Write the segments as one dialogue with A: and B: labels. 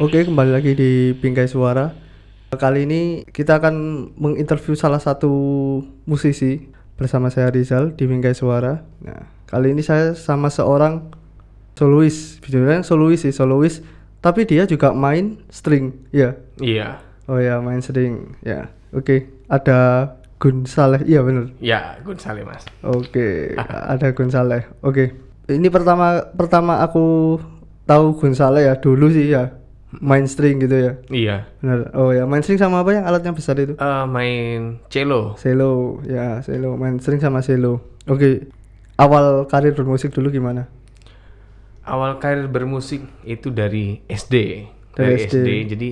A: Oke, kembali lagi di Bingkai Suara. Kali ini kita akan menginterview salah satu musisi bersama saya Rizal di Bingkai Suara. Nah, kali ini saya sama seorang solois, videonya solois sih, solois, tapi dia juga main string, ya.
B: Iya.
A: Oh ya, main string, ya. Oke, ada Gunsaleh, iya bener.
B: Ya, Gunsale Mas.
A: Oke, ada Gonsaleh. Oke. Ini pertama pertama aku tahu Gonsaleh ya dulu sih ya. Main string gitu ya.
B: Iya.
A: Benar. Oh ya, main string sama apa yang alatnya besar itu?
B: Eh, main cello.
A: Selo, ya, selo. Main string sama selo. Oke. Awal karir bermusik dulu gimana?
B: Awal karir bermusik itu dari SD.
A: Dari SD.
B: Jadi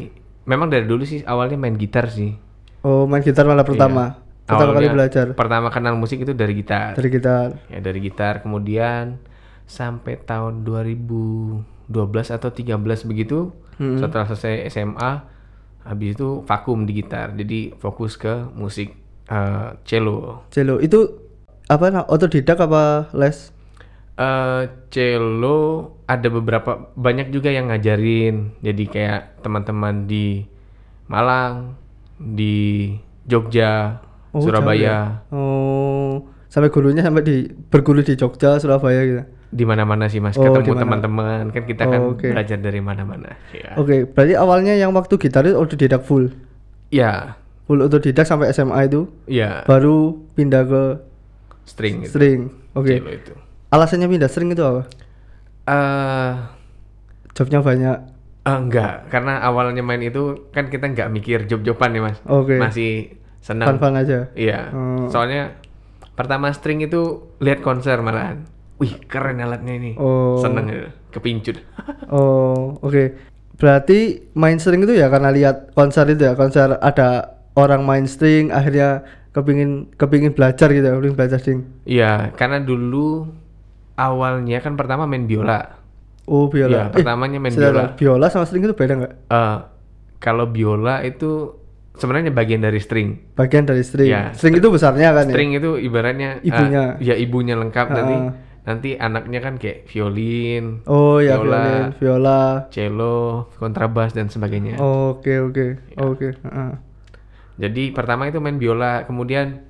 B: memang dari dulu sih awalnya main gitar sih.
A: Oh, main gitar malah pertama. Pertama kali
B: Awalnya
A: belajar
B: Pertama kenal musik itu dari gitar.
A: dari gitar.
B: Ya dari gitar kemudian sampai tahun 2012 atau 13 begitu
A: Hmm.
B: setelah selesai SMA habis itu vakum di gitar. Jadi fokus ke musik eh, cello.
A: Selo itu apa nah, otodidak apa les?
B: eh cello ada beberapa banyak juga yang ngajarin. Jadi kayak teman-teman di Malang, di Jogja,
A: Oh,
B: Surabaya,
A: Oh, sampai gurunya sampai di berguru di Jogja, Surabaya gitu.
B: di mana-mana sih Mas.
A: Oh,
B: Ketemu
A: dimana.
B: teman-teman, kan kita kan
A: Oh, oke. Oh.
B: belajar dari mana-mana. Ya.
A: Oke, berarti awalnya yang waktu gitaris otodidak full.
B: ya,
A: Full otodidak sampai SMA itu
B: ya,
A: baru pindah ke
B: string itu.
A: string. Oke.
B: Cello itu.
A: Alasannya pindah string itu apa?
B: Eh,
A: Jobnya banyak.
B: eh, enggak, karena awalnya main itu kan kita nggak mikir job-joban ya, Mas.
A: Oke.
B: Masih senang
A: Fun-fun aja.
B: Iya.
A: Hmm.
B: Soalnya pertama string itu lihat konser malahan. Wih, keren alatnya ini.
A: Oh.
B: Seneng gitu. Kepincut.
A: Oh, oke. Berarti main string itu ya karena lihat konser itu ya, konser ada orang main string akhirnya kepingin kepingin belajar gitu ya, kepingin belajar string.
B: Iya, karena dulu awalnya kan pertama main biola.
A: Oh,
B: Iya,
A: biola. Eh,
B: pertamanya main
A: sebentar,
B: biola.
A: biola sama string itu beda nggak?
B: Eh, kalau biola itu sebenarnya bagian dari string.
A: Bagian dari string.
B: Iya,
A: string itu besarnya kan ya?
B: String itu ibaratnya eh,
A: Ibunya.
B: ya ibunya lengkap nanti
A: Ah.
B: nanti anaknya kan kayak violin,
A: Oh ya,
B: Biola.
A: violin, viola.
B: cello, kontrabas dan sebagainya.
A: Oke oke
B: Iya.
A: oke. heeh.
B: Jadi pertama itu main biola, kemudian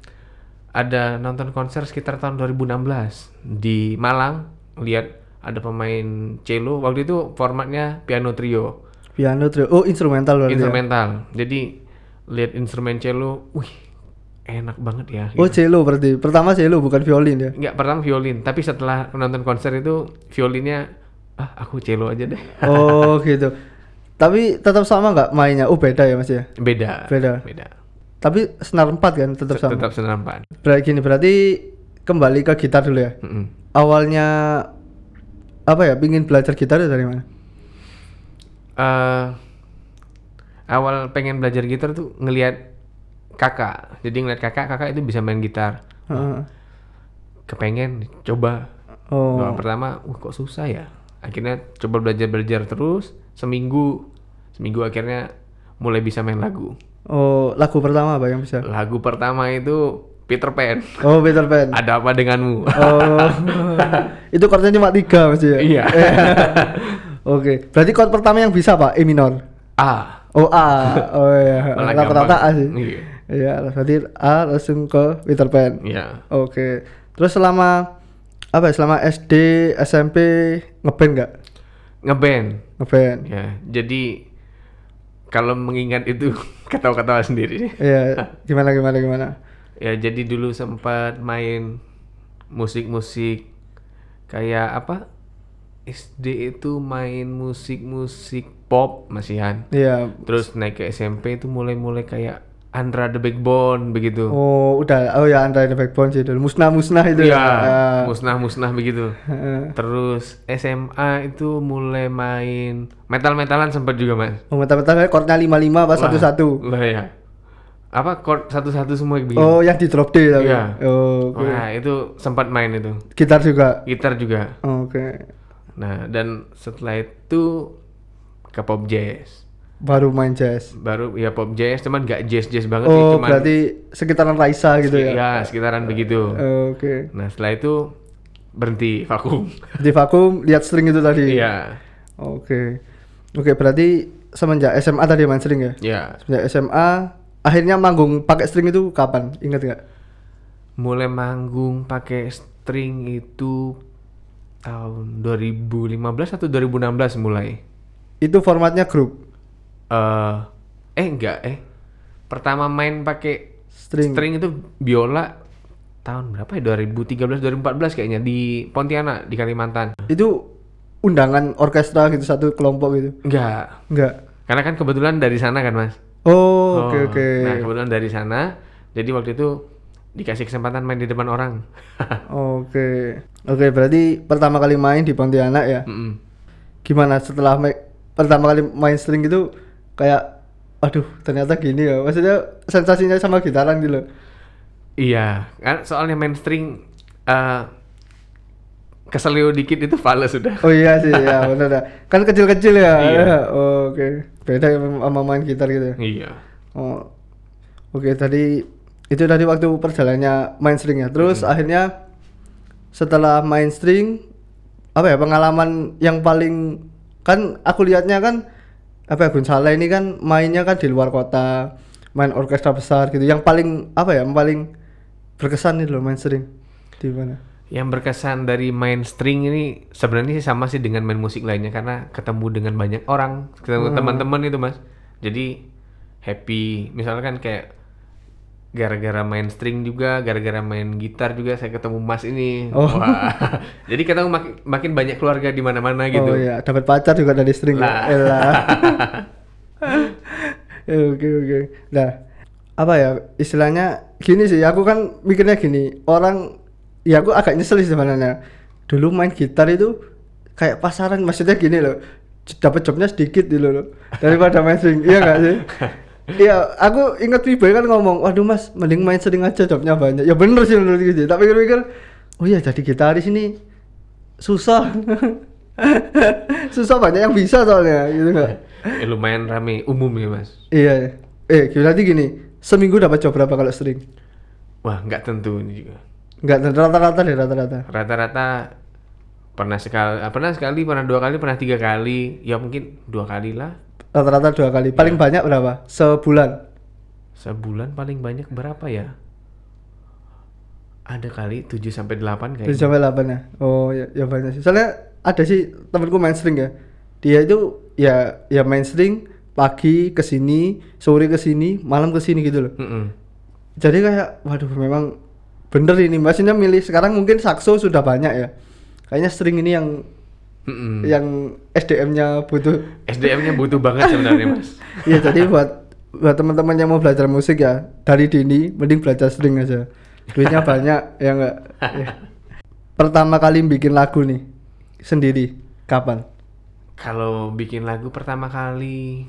B: ada nonton konser sekitar tahun 2016 di Malang, lihat ada pemain cello. Waktu itu formatnya piano trio,
A: Piano trio. Oh instrumental berarti. ya?
B: instrumental. Jadi lihat instrumen cello, wih enak banget ya.
A: Oh cello berarti. Pertama cello bukan violin ya.
B: Enggak pertama violin, tapi setelah nonton konser itu violinnya ah aku cello aja deh.
A: Oh gitu. Tapi tetap sama nggak mainnya? Oh beda ya mas ya.
B: Beda.
A: Beda.
B: Beda.
A: Tapi senar empat kan tetap sama.
B: Tetap senapan.
A: Berarti gini berarti kembali ke gitar dulu ya.
B: Mm-mm.
A: Awalnya apa ya? Pingin belajar gitar itu dari mana?
B: eh awal pengen belajar gitar tuh ngelihat kakak jadi ngeliat kakak kakak itu bisa main gitar
A: Heeh.
B: kepengen coba
A: Oh
B: Doa pertama "Wah, kok susah ya akhirnya coba belajar belajar terus seminggu seminggu akhirnya mulai bisa main lagu
A: oh lagu pertama apa yang bisa?
B: lagu pertama itu Peter Pan
A: Oh Peter Pan.
B: ada apa denganmu
A: Oh, itu chordnya cuma tiga mas ya?
B: Iya.
A: Oke, berarti chord pertama yang bisa pak E minor.
B: ah
A: Oh A, oh iya,
B: Malah
A: rata-rata A
B: gampang.
A: sih.
B: Iya.
A: Iya, berarti A langsung ke Peter Pan.
B: ya
A: Oke, terus selama apa? ya, Selama SD, SMP ngeband nggak?
B: ngeband
A: Ngeband.
B: ya jadi kalau mengingat itu ketawa-ketawa sendiri
A: Iya, gimana gimana gimana?
B: Ya jadi dulu sempat main musik-musik kayak apa? SD itu main musik-musik pop masihan.
A: Iya.
B: Terus naik ke SMP itu mulai-mulai kayak Andra the Backbone begitu.
A: Oh udah, oh ya Andra the Backbone sih dulu. Musnah musnah itu
B: Iya,
A: ya.
B: musnah-musnah begitu.
A: Heeh.
B: Terus SMA itu mulai main metal-metalan sempat juga, Mas.
A: Oh, mentah-mentah chordnya lima lima apa satu satu?
B: Lah ya. Apa chord satu-satu semua begitu.
A: Oh, yang di drop D tapi.
B: Iya.
A: Oh, oke.
B: Nah, itu sempat main itu.
A: Gitar juga.
B: Gitar juga.
A: Oke.
B: Nah, dan setelah itu ke pop jazz.
A: Baru main jazz.
B: Baru ya pop jazz, cuman nggak jazz-jazz banget sih,
A: Oh,
B: cuman
A: berarti sekitaran Raisa gitu ya.
B: ya sekitaran begitu.
A: Oke.
B: Nah, setelah itu berhenti vakum.
A: Iya. Di vakum lihat string itu tadi.
B: Iya.
A: Oke. Oke, berarti semenjak SMA tadi main string ya?
B: Ya,
A: Semenjak SMA akhirnya manggung pakai string itu kapan? Ingat nggak?
B: mulai manggung pakai string itu tahun 2015 atau 2016 mulai.
A: Itu formatnya grup
B: eh eh enggak eh. Pertama main pakai
A: string.
B: string itu biola tahun berapa ya? 2013 2014 kayaknya di Pontianak di Kalimantan.
A: Itu undangan orkestra gitu satu kelompok gitu.
B: Enggak.
A: Enggak.
B: Karena kan kebetulan dari sana kan, Mas.
A: Oh, oke
B: Oh,
A: oke.
B: Nah, kebetulan dari sana. Jadi waktu itu dikasih kesempatan main di depan orang.
A: Oke. Oke, berarti pertama kali main di Pontianak ya.
B: Mm-mm.
A: Gimana setelah ma- pertama kali main string itu kayak aduh, ternyata gini ya. Maksudnya sensasinya sama gitaran gitu loh.
B: Iya, kan soalnya main string eh keselio dikit itu fals sudah.
A: Oh iya sih, ya benar ya. Kan kecil-kecil ya.
B: Iya.
A: Ya, oh, Oke. Beda ya sama main gitar gitu. ya.
B: Iya.
A: Oh. Oke, tadi itu tadi waktu perjalanannya main string ya. Terus akhirnya setelah main string apa ya pengalaman yang paling kan aku lihatnya kan apa ya Gunsala ini kan mainnya kan di luar kota, main orkestra besar gitu. Yang paling apa ya, yang paling berkesan itu loh main string. Di mana?
B: Yang berkesan dari main string ini sebenarnya sih sama sih dengan main musik lainnya karena ketemu dengan banyak
A: Hmm.
B: orang, ketemu teman-teman itu mas. Jadi happy. Misalkan kayak gara-gara main string juga, gara-gara main gitar juga saya ketemu mas ini.
A: Oh.
B: Wah. Jadi ketemu makin, makin banyak keluarga di mana-mana gitu.
A: Oh iya, dapat pacar juga dari string
B: Lah.
A: ya. Elah. Ya, Oke oke. Nah, apa ya istilahnya gini sih, aku kan mikirnya gini, orang ya aku agak nyesel sih sebenarnya. Dulu main gitar itu kayak pasaran maksudnya gini loh. Dapat jobnya sedikit dulu loh daripada main string. Iya enggak sih? Iya, aku ingat Wiboy kan ngomong, waduh mas, mending main string aja jobnya banyak. Ya bener sih menurut gitu. Tapi pikir-pikir, oh iya jadi gitaris ini susah susah banyak yang bisa soalnya gitu nggak
B: Eh, lumayan rame umum ya mas.
A: iya eh berarti gini seminggu dapat job berapa kalau string
B: Wah nggak tentu ini juga.
A: nggak rata-rata deh rata-rata
B: rata-rata pernah sekali ah, pernah sekali pernah dua kali pernah tiga kali ya mungkin dua kali lah
A: rata-rata dua kali paling banyak berapa sebulan
B: sebulan paling banyak berapa ya ada kali 7 sampai 8
A: tujuh
B: kayaknya
A: sampai delapan ya oh ya, ya banyak sih soalnya ada sih temenku main string ya dia itu ya ya main string pagi ke sini sore ke sini malam ke sini gitu loh
B: Mm-mm.
A: jadi kayak waduh memang bener ini maksudnya milih sekarang mungkin sakso sudah banyak ya kayaknya string ini yang
B: Mm-mm.
A: yang SDM-nya butuh.
B: SDM-nya butuh banget sebenarnya mas
A: ya jadi buat buat teman-teman yang mau belajar musik ya dari dini mending belajar string aja. Duitnya banyak ya enggak. Pertama kali bikin lagu nih sendiri kapan?
B: kalau bikin lagu pertama kali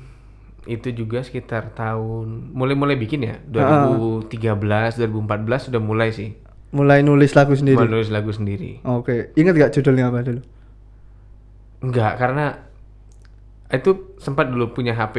B: itu juga sekitar tahun mulai-mulai bikin
A: Ah,
B: ya 2013 2014 sudah mulai sih
A: Mulai nulis lagu sendiri.
B: menulis lagu sendiri
A: Oke, ingat gak judulnya apa dulu?
B: Enggak, karena itu sempat dulu punya HP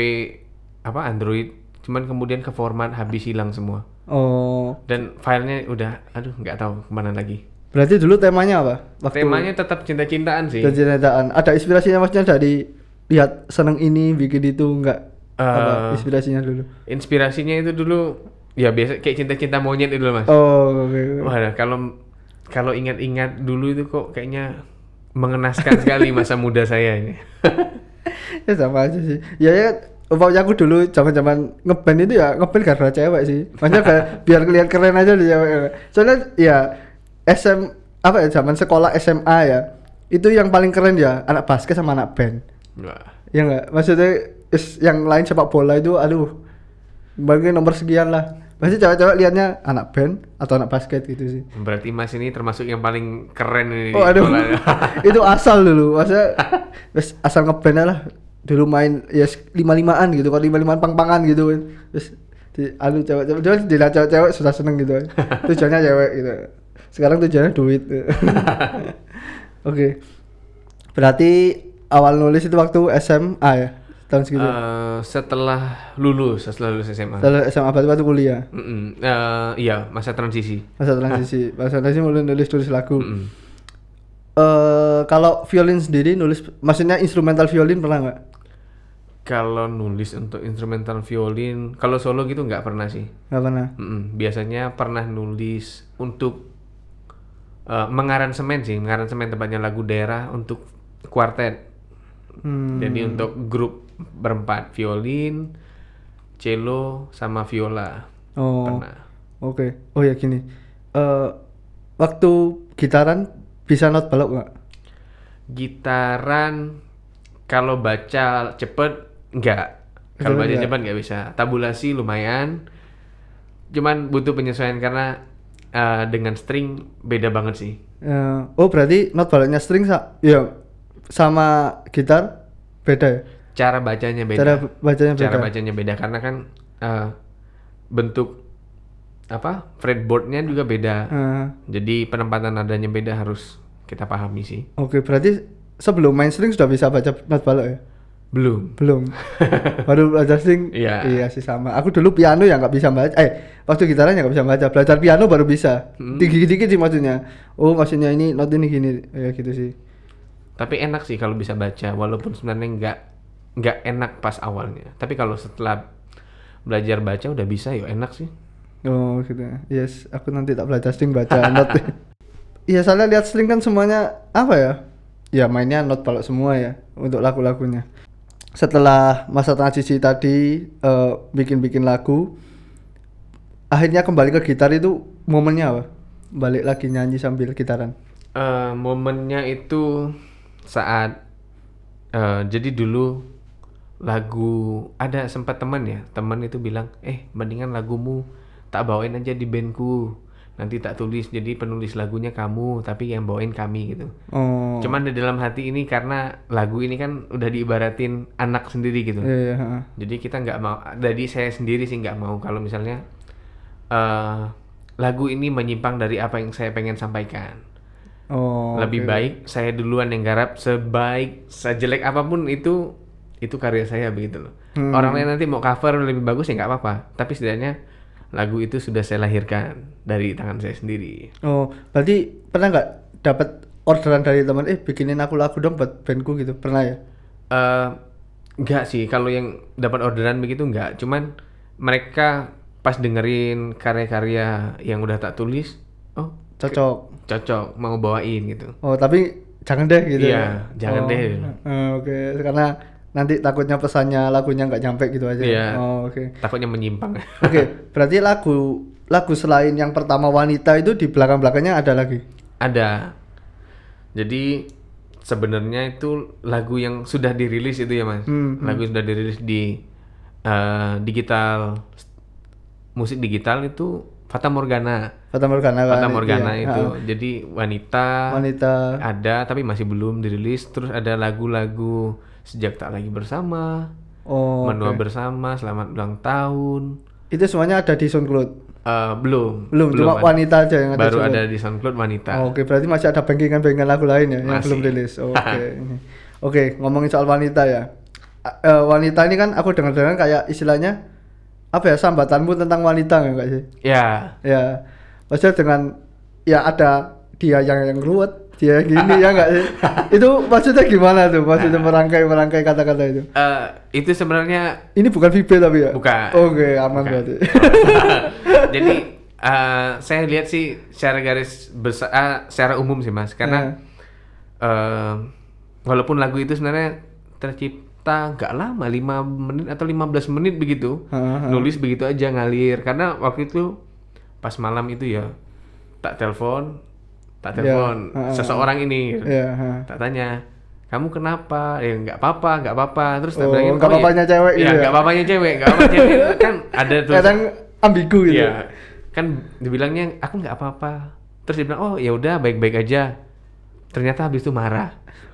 B: apa Android, cuman kemudian ke format habis hilang semua.
A: Oh,
B: Dan filenya udah, aduh nggak tahu kemana lagi.
A: berarti dulu temanya apa?
B: Temanya tetap cinta-cintaan sih.
A: dan cintaan. Ada inspirasinya maksudnya dari lihat seneng ini bikin itu enggak? apa inspirasinya dulu?
B: Inspirasinya itu dulu ya biasa kayak cinta-cinta monyet itu loh mas.
A: Oh, oke. oke.
B: Wah, kalau kalau ingat-ingat dulu itu kok kayaknya mengenaskan sekali masa muda saya ini.
A: ya sama aja sih ya ya umpamanya aku dulu zaman zaman ngeband itu ya ngeband karena cewek sih maksudnya biar, biar kelihatan keren aja di cewek soalnya ya SM apa ya zaman sekolah SMA ya itu yang paling keren ya anak basket sama anak band
B: Wah.
A: ya enggak maksudnya is- yang lain sepak bola itu aduh bagi nomor sekian lah pasti cewek-cewek liatnya anak band atau anak basket gitu sih
B: Berarti Mas ini termasuk yang paling keren ini. di
A: Oh aduh,
B: sekolah.
A: itu asal dulu, masa wes asal ngeband aja lah dulu main ya lima limaan gitu, kalau lima limaan pang pangan gitu kan, terus di aduh cewek cewek cewek dilihat cewek cewek sudah seneng gitu kan, tujuannya cewek gitu, sekarang tujuannya duit. Oke, berarti awal nulis itu waktu SMA ya tahun segitu,
B: Eh, setelah lulus, setelah lulus SMA.
A: setelah SMA berarti waktu kuliah
B: Mm-mm. Eh, iya, masa transisi.
A: masa transisi, masa transisi mulai nulis tulis lagu.
B: Mm-mm.
A: Eh kalau violin sendiri nulis, maksudnya instrumental violin pernah nggak?
B: Kalau nulis untuk instrumental violin, kalau solo gitu nggak pernah sih.
A: Nggak pernah.
B: Mm-mm. Biasanya pernah nulis untuk eh, mengaransemen sih, mengaransemen tempatnya lagu daerah untuk kuartet.
A: Hmm.
B: Jadi untuk grup berempat violin, cello sama viola.
A: Oh.
B: Pernah.
A: Oke. Oh ya gini. Eh waktu gitaran bisa not balok nggak?
B: Gitaran kalau baca cepet enggak.
A: Betul,
B: Kalau baca
A: enggak?
B: cepet nggak bisa. Tabulasi lumayan. Cuman butuh penyesuaian karena eh, dengan string beda banget sih.
A: Eh, oh berarti not baloknya string sa ya sama gitar beda ya?
B: Cara bacanya beda.
A: Cara bacanya beda.
B: cara bacanya beda karena kan eh, bentuk apa fretboardnya juga beda
A: Eh,
B: jadi penempatan nadanya beda harus kita pahami sih
A: Oke, berarti sebelum main string sudah bisa baca not balok ya?
B: belum
A: Belum. Baru belajar string.
B: Iya.
A: Iya sih sama. Aku dulu piano ya nggak bisa baca. Eh, waktu gitaran ya nggak bisa baca. Belajar piano baru bisa. Dikit-dikit sih maksudnya. Oh, maksudnya ini not ini gini. Ya gitu sih.
B: tapi enak sih kalau bisa baca walaupun sebenarnya nggak nggak enak pas awalnya tapi kalau setelah belajar baca udah bisa yo enak sih
A: Oh gitu ya. Yes, aku nanti tak belajar string baca not. Iya, soalnya lihat string kan semuanya apa ya? Ya mainnya not balok semua ya untuk lagu-lagunya. Setelah Mas Cici tadi eh, bikin-bikin lagu, akhirnya kembali ke gitar itu momennya apa? Balik lagi nyanyi sambil gitaran.
B: Eh, momennya itu saat eh, jadi dulu lagu ada sempat teman ya teman itu bilang eh mendingan lagumu tak bawain aja di bandku nanti tak tulis jadi penulis lagunya kamu tapi yang bawain kami gitu
A: Oh.
B: cuman di dalam hati ini karena lagu ini kan udah diibaratin anak sendiri gitu
A: Iya, iya, heeh.
B: jadi kita nggak mau dari saya sendiri sih nggak mau kalau misalnya eh lagu ini menyimpang dari apa yang saya pengen sampaikan
A: Oh.
B: lebih
A: oke.
B: baik saya duluan yang garap sebaik sejelek apapun itu itu karya saya begitu loh
A: Hmm.
B: orang lain nanti mau cover lebih bagus ya nggak apa-apa tapi setidaknya lagu itu sudah saya lahirkan dari tangan saya sendiri
A: Oh, berarti pernah nggak dapat orderan dari teman, eh bikinin aku lagu dong buat bandku gitu. Pernah ya?
B: eh nggak sih kalau yang dapat orderan begitu nggak cuman mereka pas dengerin karya-karya yang udah tak tulis oh
A: Cocok.
B: cocok mau bawain gitu
A: Oh tapi jangan deh gitu.
B: Iya,
A: ya?
B: jangan
A: Oh,
B: deh.
A: eh, Oke, karena nanti takutnya pesannya lagunya nggak nyampe gitu aja.
B: Iya.
A: Oh, oke.
B: takutnya menyimpang
A: Oke, berarti lagu lagu selain yang pertama wanita itu di belakang-belakangnya ada lagi.
B: Ada. Jadi sebenarnya itu lagu yang sudah dirilis itu ya mas.
A: Hmm,
B: lagu yang sudah dirilis di eh, digital musik digital itu Fata Morgana.
A: Fata Morgana kan.
B: Fata
A: itu
B: Morgana
A: ya.
B: itu.
A: Ah,
B: Jadi wanita,
A: wanita.
B: ada tapi masih belum dirilis. Terus ada lagu-lagu sejak tak lagi bersama,
A: Oh.
B: menua
A: oke.
B: bersama, selamat ulang tahun.
A: Itu semuanya ada di SoundCloud.
B: Eh, belum,
A: Belum, cuma
B: ada.
A: wanita aja yang ada. di
B: baru
A: SoundCloud.
B: ada di SoundCloud wanita.
A: Oh, Oke, berarti masih ada bengkingan-bengkingan lagu lain ya yang
B: Masih.
A: belum rilis. Oh, Oke. Ini. Oke, ngomongin soal wanita ya. A- eh, wanita ini kan aku dengar-dengar kayak istilahnya apa ya sambatanmu tentang wanita enggak sih?
B: Ya,
A: Ya. Maksudnya dengan ya ada dia yang yang ruwet, dia yang gini ya enggak sih? Itu maksudnya gimana tuh? Maksudnya
B: Nah.
A: merangkai-merangkai kata-kata itu.
B: eh, itu sebenarnya
A: Ini bukan VB tapi ya?
B: Bukan.
A: Oke, aman
B: Bukan.
A: berarti.
B: Jadi eh, saya lihat sih secara garis besar, eh, secara umum sih mas,
A: Iya.
B: karena eh, walaupun lagu itu sebenarnya tercipta nggak lama, 5 menit atau 15 menit begitu,
A: Ha, ha.
B: nulis begitu aja ngalir, karena waktu itu pas malam itu ya tak telepon,
A: Ya,
B: tak telepon
A: ha, ha,
B: seseorang ini, gitu.
A: Iya, ha.
B: tak tanya. Kamu kenapa? Ya nggak apa-apa, nggak apa-apa. Terus tak
A: Oh, nggak
B: bilangin, "Oh, iya."
A: apa-apanya cewek
B: Iya,
A: gitu ya?
B: nggak apa-apanya cewek, nggak apa-apa cewek. kan ada tulisan-
A: Kadang ambigu gitu.
B: Iya. Kan dibilangnya aku nggak apa-apa. Terus dia bilang, "Oh, ya udah baik-baik aja." Ternyata habis itu marah.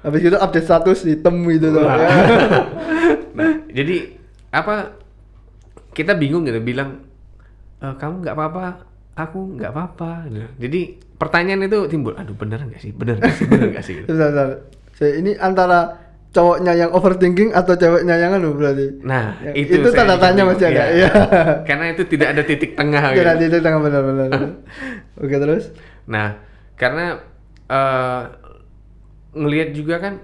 A: Habis itu update status hitam gitu tuh.
B: Wah.
A: Ya.
B: Nah, jadi apa kita bingung gitu bilang "Eh, kamu nggak apa-apa, aku nggak apa-apa. gitu. Jadi pertanyaan itu timbul, aduh bener nggak sih, bener nggak sih, bener nggak sih. gitu.
A: Bentar, bentar. Saya- ini antara cowoknya yang overthinking atau ceweknya yang anu berarti.
B: Nah,
A: Ya,
B: itu saya
A: tanda
B: juga
A: tanya
B: bingung.
A: masih ada.
B: Iya.
A: Iya.
B: Karena itu tidak ada titik tengah.
A: Oke,
B: gitu.
A: nanti itu tanggal benar-benar. Oke, terus?
B: Nah, karena eh, ngelihat juga kan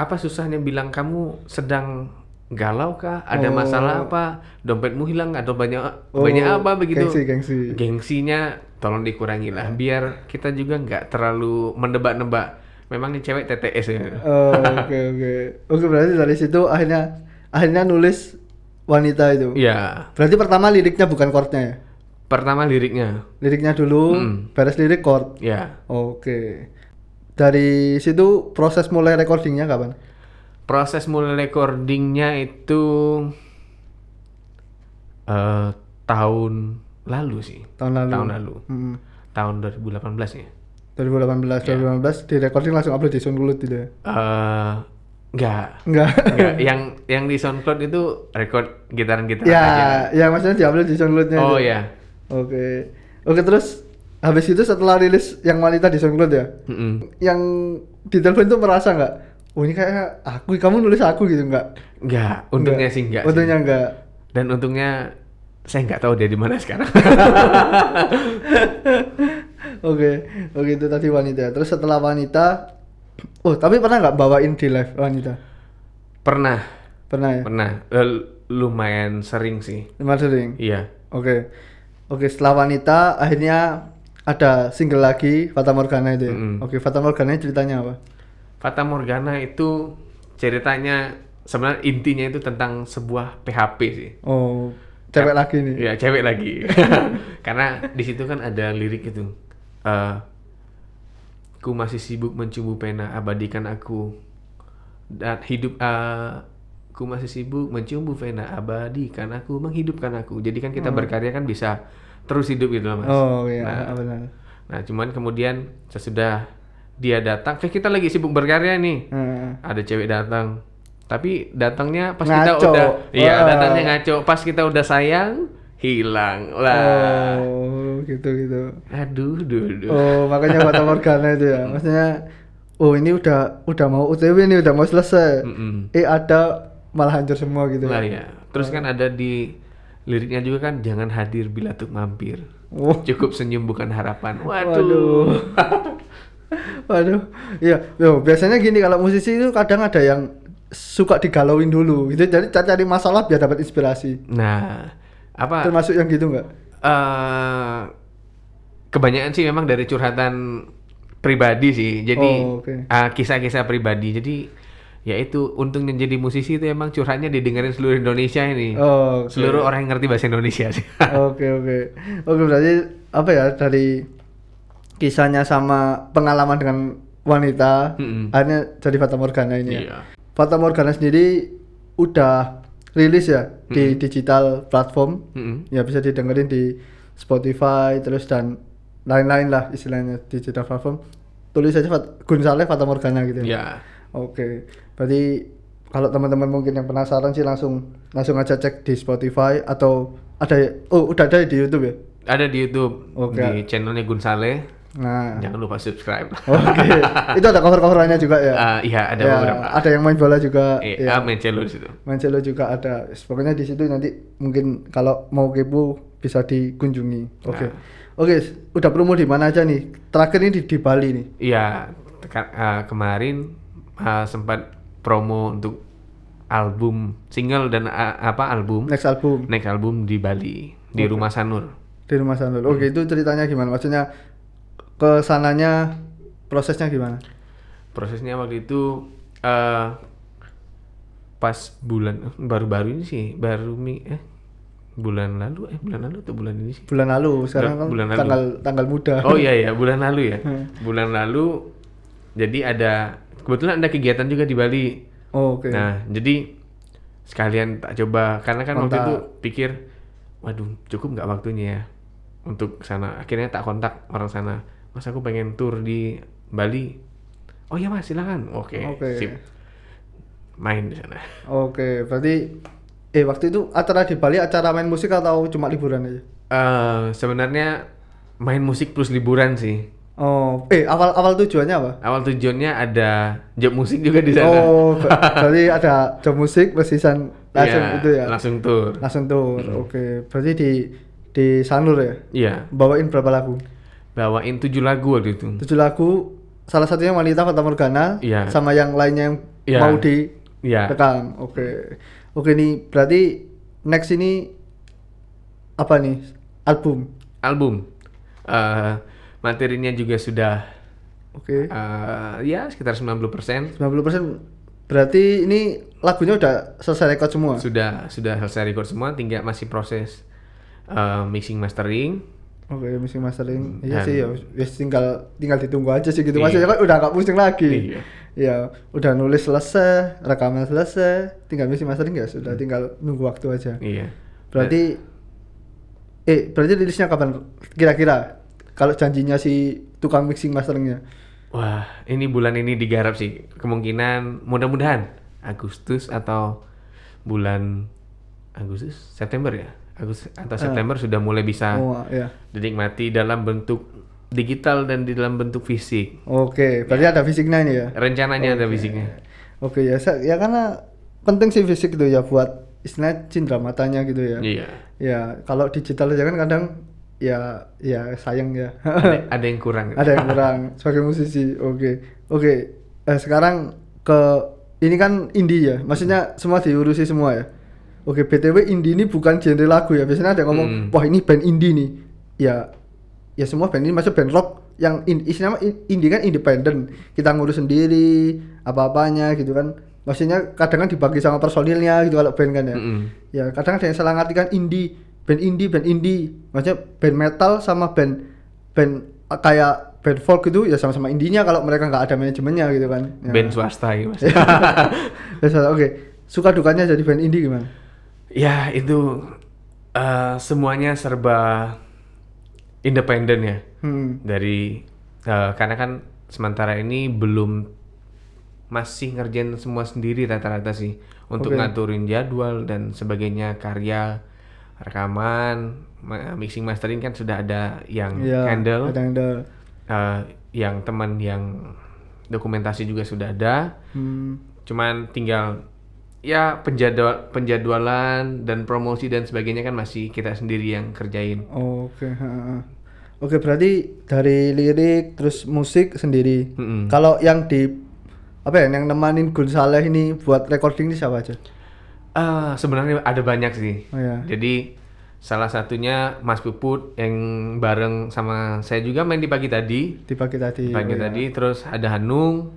B: apa susahnya bilang kamu sedang galau kah?
A: Oh.
B: Ada masalah apa? Dompetmu hilang atau banyak
A: Oh,
B: banyak apa begitu?
A: Gengsi, gengsi.
B: Gengsinya tolong dikurangi lah biar kita juga nggak terlalu mendebak-nebak. Memang ini cewek TTS ya.
A: Oh, Oke, oke. Oke, berarti dari situ akhirnya akhirnya nulis wanita itu.
B: Iya.
A: Berarti pertama liriknya bukan chordnya ya?
B: Pertama liriknya.
A: Liriknya dulu, beres lirik chord.
B: Ya.
A: Oke. Dari situ proses mulai recordingnya kapan?
B: Proses mulai recordingnya itu eh tahun lalu sih.
A: Tahun lalu.
B: Tahun lalu.
A: Hmm.
B: Tahun 2018 ya.
A: 2018, 2018 di recording langsung upload di SoundCloud gitu ya?
B: Eh nggak.
A: Enggak.
B: Nggak, yang yang di SoundCloud itu record gitaran-gitaran
A: ya,
B: aja.
A: ya maksudnya di upload di SoundCloudnya
B: Oh
A: itu.
B: ya.
A: Oke. Oke, terus habis itu setelah rilis yang wanita di SoundCloud ya?
B: Mm-mm.
A: Yang di telepon itu merasa nggak? Oh ini kayak aku, kamu nulis aku gitu nggak?
B: Nggak, untungnya sih nggak. sih.
A: Untungnya nggak.
B: Dan untungnya saya nggak tahu dia di mana sekarang.
A: Oke, oke itu tadi wanita. Terus setelah wanita, oh tapi pernah nggak bawain di live wanita?
B: pernah,
A: Pernah ya?
B: pernah. L- lumayan sering sih.
A: Lima sering.
B: Iya.
A: Oke, oke setelah wanita akhirnya ada single lagi Fata Morgana itu. Ya?
B: Mm-mm.
A: Oke, Fata Morgana ceritanya apa?
B: Fata Morgana itu ceritanya sebenarnya intinya itu tentang sebuah PHP sih.
A: Oh, cewek lagi nih.
B: Ya cewek lagi. Karena di situ kan ada lirik itu. eh ku masih sibuk mencumbu pena abadikan aku dan hidup eh ku masih sibuk mencumbu pena abadikan aku menghidupkan aku. Jadi kan kita berkarya kan bisa terus hidup gitu loh mas.
A: Oh iya,
B: Nah,
A: benar.
B: nah cuman kemudian sesudah dia datang, kayak kita lagi sibuk berkarya nih
A: Heeh.
B: ada cewek datang tapi datangnya pas kita
A: Ngaco. Ah.
B: udah iya
A: Wah.
B: datangnya ngaco pas kita udah sayang hilang lah
A: Oh, gitu gitu.
B: aduh duh, duh.
A: Oh, makanya Fata Morgana itu ya. Maksudnya oh ini udah udah mau UTW nih, udah mau selesai.
B: Mm-mm.
A: Eh ada malah hancur semua gitu.
B: lah ya terus kan ada di liriknya juga kan jangan hadir bila tuh mampir
A: Wah,
B: cukup senyum bukan harapan waduh,
A: Waduh. Waduh. Iya, yo biasanya gini kalau musisi itu kadang ada yang suka digalauin dulu gitu. Jadi cari cari masalah biar dapat inspirasi.
B: nah apa
A: Termasuk yang gitu nggak?
B: eh, kebanyakan sih memang dari curhatan pribadi sih jadi
A: Oh, oke.
B: ah, kisah-kisah pribadi jadi ya itu untungnya jadi musisi itu emang curhatnya didengerin seluruh Indonesia ini
A: Oh, oke.
B: seluruh orang yang ngerti bahasa Indonesia sih
A: Oke, oke. Oke, berarti apa ya dari kisahnya sama pengalaman dengan wanita
B: Mm-mm.
A: akhirnya jadi Fata Morgana ini. ya.
B: Iya.
A: Fata Morgana sendiri udah rilis ya di digital platform.
B: Mm-mm.
A: ya bisa didengerin di Spotify terus dan lain-lain lah istilahnya digital platform tulis aja Fat Gunsaleh Fata Morgana gitu ya.
B: ya
A: Oke. Berarti kalau teman-teman mungkin yang penasaran sih langsung langsung aja cek di Spotify atau ada oh udah ada di YouTube ya.
B: ada di YouTube
A: Oke.
B: di channelnya Gunsale
A: Nah.
B: jangan lupa subscribe
A: Oke. Itu ada cover-coverannya juga ya.
B: Ah, iya ada
A: Ya,
B: beberapa
A: ada yang main bola juga.
B: eh,
A: ya.
B: ah, main channel di situ
A: Main cello juga ada. Pokoknya di situ nanti mungkin kalau mau kepo bisa dikunjungi. Oke.
B: Nah.
A: Oke, s- udah promo di mana aja nih? Terakhir ini di, di Bali nih.
B: Iya, teka- eh, kemarin eh, sempat promo untuk album single dan eh, apa album
A: Next album
B: next album di Bali di rumah Sanur.
A: di Rumah Sandul.
B: Hmm.
A: Oke, itu ceritanya gimana? Maksudnya ke sananya prosesnya gimana?
B: Prosesnya waktu itu eh, pas bulan eh, baru-baru ini sih, baru mi eh bulan lalu eh bulan lalu atau bulan ini sih?
A: Bulan lalu, sekarang kan
B: Bulan lalu.
A: tanggal tanggal muda.
B: Oh iya ya, bulan lalu ya. Bulan lalu jadi ada kebetulan ada kegiatan juga di Bali.
A: Oh, Oke.
B: Nah, jadi sekalian tak coba karena kan waktu
A: Kontak.
B: itu pikir, waduh cukup nggak waktunya ya untuk ke sana. Akhirnya tak kontak orang sana. Mas aku pengen tour di Bali. Oh iya mas silakan. Oke.
A: Oke.
B: Sip. Main di sana.
A: Oke, berarti eh waktu itu acara di Bali acara main musik atau cuma liburan aja?
B: Eh, sebenarnya main musik plus liburan sih.
A: Oh, eh awal awal tujuannya apa?
B: Awal tujuannya ada job musik juga di sana.
A: Oh, ber- berarti ada job musik persisan langsung
B: Iya,
A: itu ya.
B: Langsung tour.
A: Langsung tuh. Oke, berarti di di Sanur ya.
B: Iya.
A: Bawain berapa lagu?
B: Mm. Bawain tujuh lagu waktu itu.
A: Tujuh lagu. Salah satunya wanita Fata Morgana
B: Iya.
A: sama yang lainnya yang
B: Iya.
A: mau di
B: Iya.
A: rekam oke oke nih berarti next ini apa nih album
B: Album. Eh, materinya juga sudah
A: oke
B: eh, ya sekitar 90%
A: 90% berarti ini lagunya udah selesai record semua oke
B: sudah sudah selesai record semua, tinggal masih proses eh, mixing mastering.
A: mixing mastering iya
B: Dan-
A: sih ya ya tinggal tinggal ditunggu aja sih gitu
B: Iya.
A: maksudnya kan udah nggak pusing lagi
B: Iya.
A: ya udah nulis selesai rekaman selesai tinggal mixing mastering ya sudah tinggal nunggu waktu aja
B: Hmm. Iya.
A: Berarti eh berarti rilisnya kapan kira-kira? Kalau janjinya si tukang mixing masternya.
B: Wah, ini bulan ini digarap sih. Kemungkinan mudah-mudahan Agustus atau bulan Agustus, September ya. Agustus atau September sudah mulai bisa
A: Oh, ya.
B: dinikmati dalam bentuk digital dan di dalam bentuk fisik.
A: Oke, berarti
B: Iya.
A: ada fisiknya ini ya.
B: Rencananya ada fisiknya.
A: Oke ya, sa- ya karena penting sih fisik itu ya buat istilah cindera matanya gitu ya.
B: Iya.
A: Ya, kalau digital aja kan kadang ya ya sayang ya.
B: Ada, ada yang kurang.
A: ada yang kurang sebagai musisi. Oke. Oke. Eh, sekarang ke ini kan indie ya.
B: Hmm.
A: Maksudnya semua diurusi semua ya. Oke, BTW indie ini bukan genre lagu ya. Biasanya ada yang ngomong,
B: Hmm.
A: "Wah, ini band indie nih." Ya ya semua band ini masuk band rock yang in, istilahnya in- indie kan independen. Kita ngurus sendiri apa-apanya gitu kan. Maksudnya kadang kan dibagi sama personilnya gitu kalau band kan ya
B: Mm-mm.
A: ya kadang ada yang salah ngerti kan indie band indie band indie maksudnya band metal sama band band eh, kayak band folk gitu ya sama-sama indinya kalau mereka nggak ada manajemennya gitu kan ya.
B: Band swasta ya mas.
A: Ya, salah. oke suka dukanya jadi band indie gimana
B: ya itu eh, semuanya serba independen ya.
A: hmm
B: dari eh, karena kan sementara ini belum masih ngerjain semua sendiri rata-rata sih untuk
A: Oke.
B: ngaturin jadwal dan sebagainya karya rekaman ma- mixing mastering kan sudah ada yang
A: Iya,
B: handle
A: ada handle
B: eh, yang teman yang dokumentasi juga sudah ada
A: hmm
B: cuman tinggal ya penjadwal penjadwalan dan promosi dan sebagainya kan masih kita sendiri yang kerjain
A: oke ha, ha, ha. oke berarti dari lirik terus musik sendiri
B: Mm-mm.
A: kalau yang di apa ya yang nemanin Gun Saleh ini buat recording ini siapa aja
B: Ah, sebenarnya ada banyak sih.
A: Oh, ya.
B: Jadi salah satunya Mas Puput yang bareng sama saya juga main di pagi tadi.
A: dipakai tadi oh,
B: Pagi
A: ya.
B: tadi terus ada Hanung.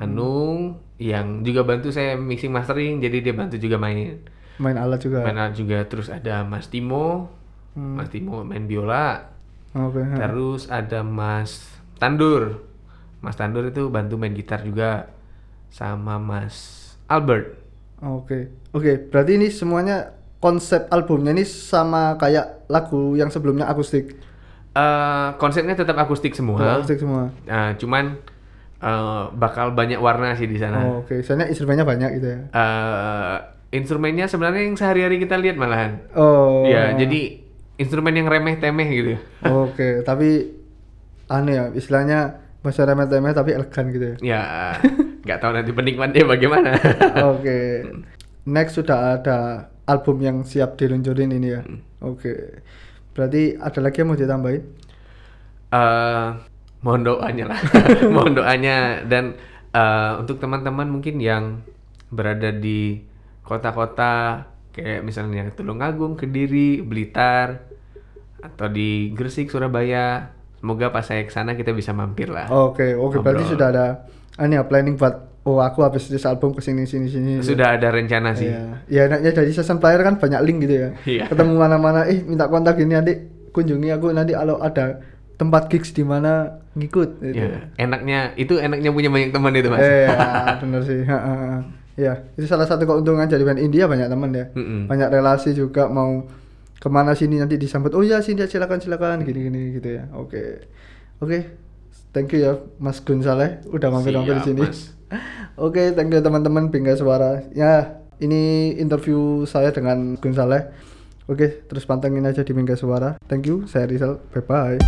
B: Hanung yang juga bantu saya mixing mastering jadi dia bantu juga main.
A: main alat juga
B: Main alat juga terus ada Mas Timo.
A: Iya. Hmm.
B: Mas Timo main biola.
A: Oh, Oke. ha.
B: Terus ada Mas Tandur. Mas Tandur itu bantu main gitar juga sama Mas Albert.
A: Oke. Oke, berarti ini semuanya konsep albumnya ini sama kayak lagu yang sebelumnya akustik. Oh,
B: Eh, konsepnya tetap akustik semua.
A: Akustik semua.
B: Nah, cuman eh, bakal banyak warna sih di sana.
A: Oh, Oke, soalnya instrumennya banyak gitu ya.
B: Eh, instrumennya sebenarnya yang sehari-hari kita lihat malahan.
A: Oh.
B: Ya, jadi instrumen yang remeh-temeh gitu.
A: Oke, tapi aneh ya istilahnya bahasa remeh-temeh tapi elegan gitu ya.
B: Ya, nggak tahu nanti penikmatnya bagaimana.
A: Oke. Next sudah ada album yang siap diluncurin ini ya.
B: Hmm.
A: Oke. Berarti ada lagi yang mau ditambahin?
B: Eh, mohon doanya lah. mohon doanya dan eh, untuk teman-teman mungkin yang berada di kota-kota kayak misalnya Tulungagung, Kediri, Blitar atau di Gresik, Surabaya. Semoga pas saya ke sana kita bisa mampir lah.
A: Oke, oke berarti
B: Ngobrol.
A: sudah ada aneh ya planning buat oh aku habis rilis album ke sini sini sini.
B: Sudah ada rencana sih.
A: Iya, ya enaknya dari session player kan banyak link gitu ya.
B: Iya.
A: Ketemu mana-mana, eh minta kontak ini nanti kunjungi aku nanti kalau ada tempat gigs di mana ngikut. Gitu.
B: Ya, enaknya itu enaknya punya banyak teman itu, gitu, Mas.
A: Eh, ya, bener sih. Ha, ha, ha. Iya, itu salah satu keuntungan jadi band India banyak teman ya.
B: Mm-mm.
A: Banyak relasi juga mau kemana sini nanti disambut. Oh ya sini silakan silakan gini-gini gitu ya. Oke, oke. Thank you ya Mas Gun Saleh udah mampir-mampir di
B: Siap,
A: sini.
B: Mas.
A: Oke, thank you teman-teman Bingkai Suara. Ya, ini interview saya dengan Gun Saleh. Oke, terus pantengin aja di Bingkai Suara. Thank you, saya Rizal. Bye-bye.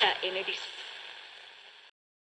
C: Tak, ini dis.